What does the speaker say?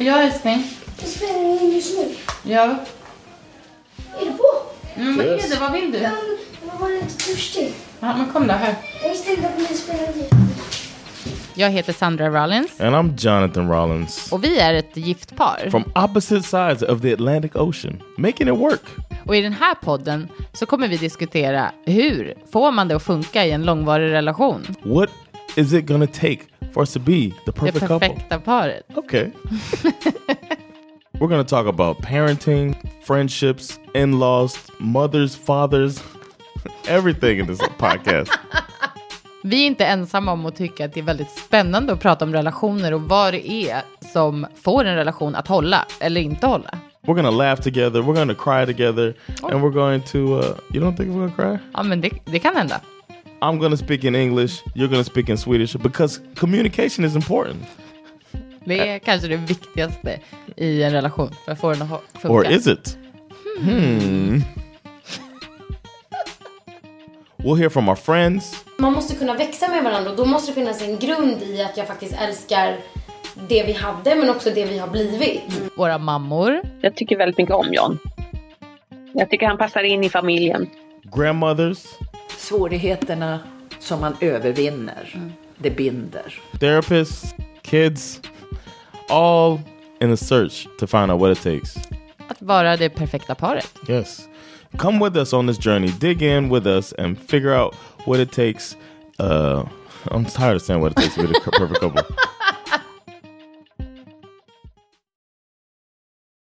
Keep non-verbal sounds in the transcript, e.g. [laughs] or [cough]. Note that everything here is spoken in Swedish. Ja, älskling. Det spelar ingen just nu. Ja. Är det på? Men vad Yes. är det? Vad vill du? Jag jag var lite törstig. Ja, men kom då, här. Jag visste inte att ni spelade det. Jag heter Sandra Rollins And I'm Jonathan Rollins. och vi är ett gift par. From opposite sides of the Atlantic Ocean, making it work. Och i den här podden så kommer vi diskutera hur får man det att funka i en långvarig relation? What is it gonna take for us to be the Det perfect couple? perfekta paret. Okay. We're going to talk about parenting, friendships, in laws, mothers, fathers, [laughs] everything in this [laughs] podcast. Vi är inte ensamma om att tycka att det är väldigt spännande att prata om relationer och vad det är som får en relation att hålla eller inte hålla. We're going to laugh together. We're going to cry together. And we're going to, uh, you don't think we're going to cry? Ja, men det, det kan hända. I'm going to speak in English. You're going to speak in Swedish because communication is important. Det är kanske det viktigaste i en relation för att få den att ha- funka. [laughs] Or is it? Hmm. we'll hear from our friends. Man måste kunna växa med varandra och då måste det finnas en grund i att jag faktiskt älskar det vi hade men också det vi har blivit. Våra mammor. Jag tycker väldigt mycket om John. Jag tycker han passar in i familjen. grandmothers, Svårigheterna som man övervinner, det binder. therapists, kids, all in a search to find out what it takes. Att vara det perfekta paret. Yes. Come with us on this journey. Dig in with us and figure out what it takes. Uh, I'm tired of saying what it takes to be the [laughs] perfect couple.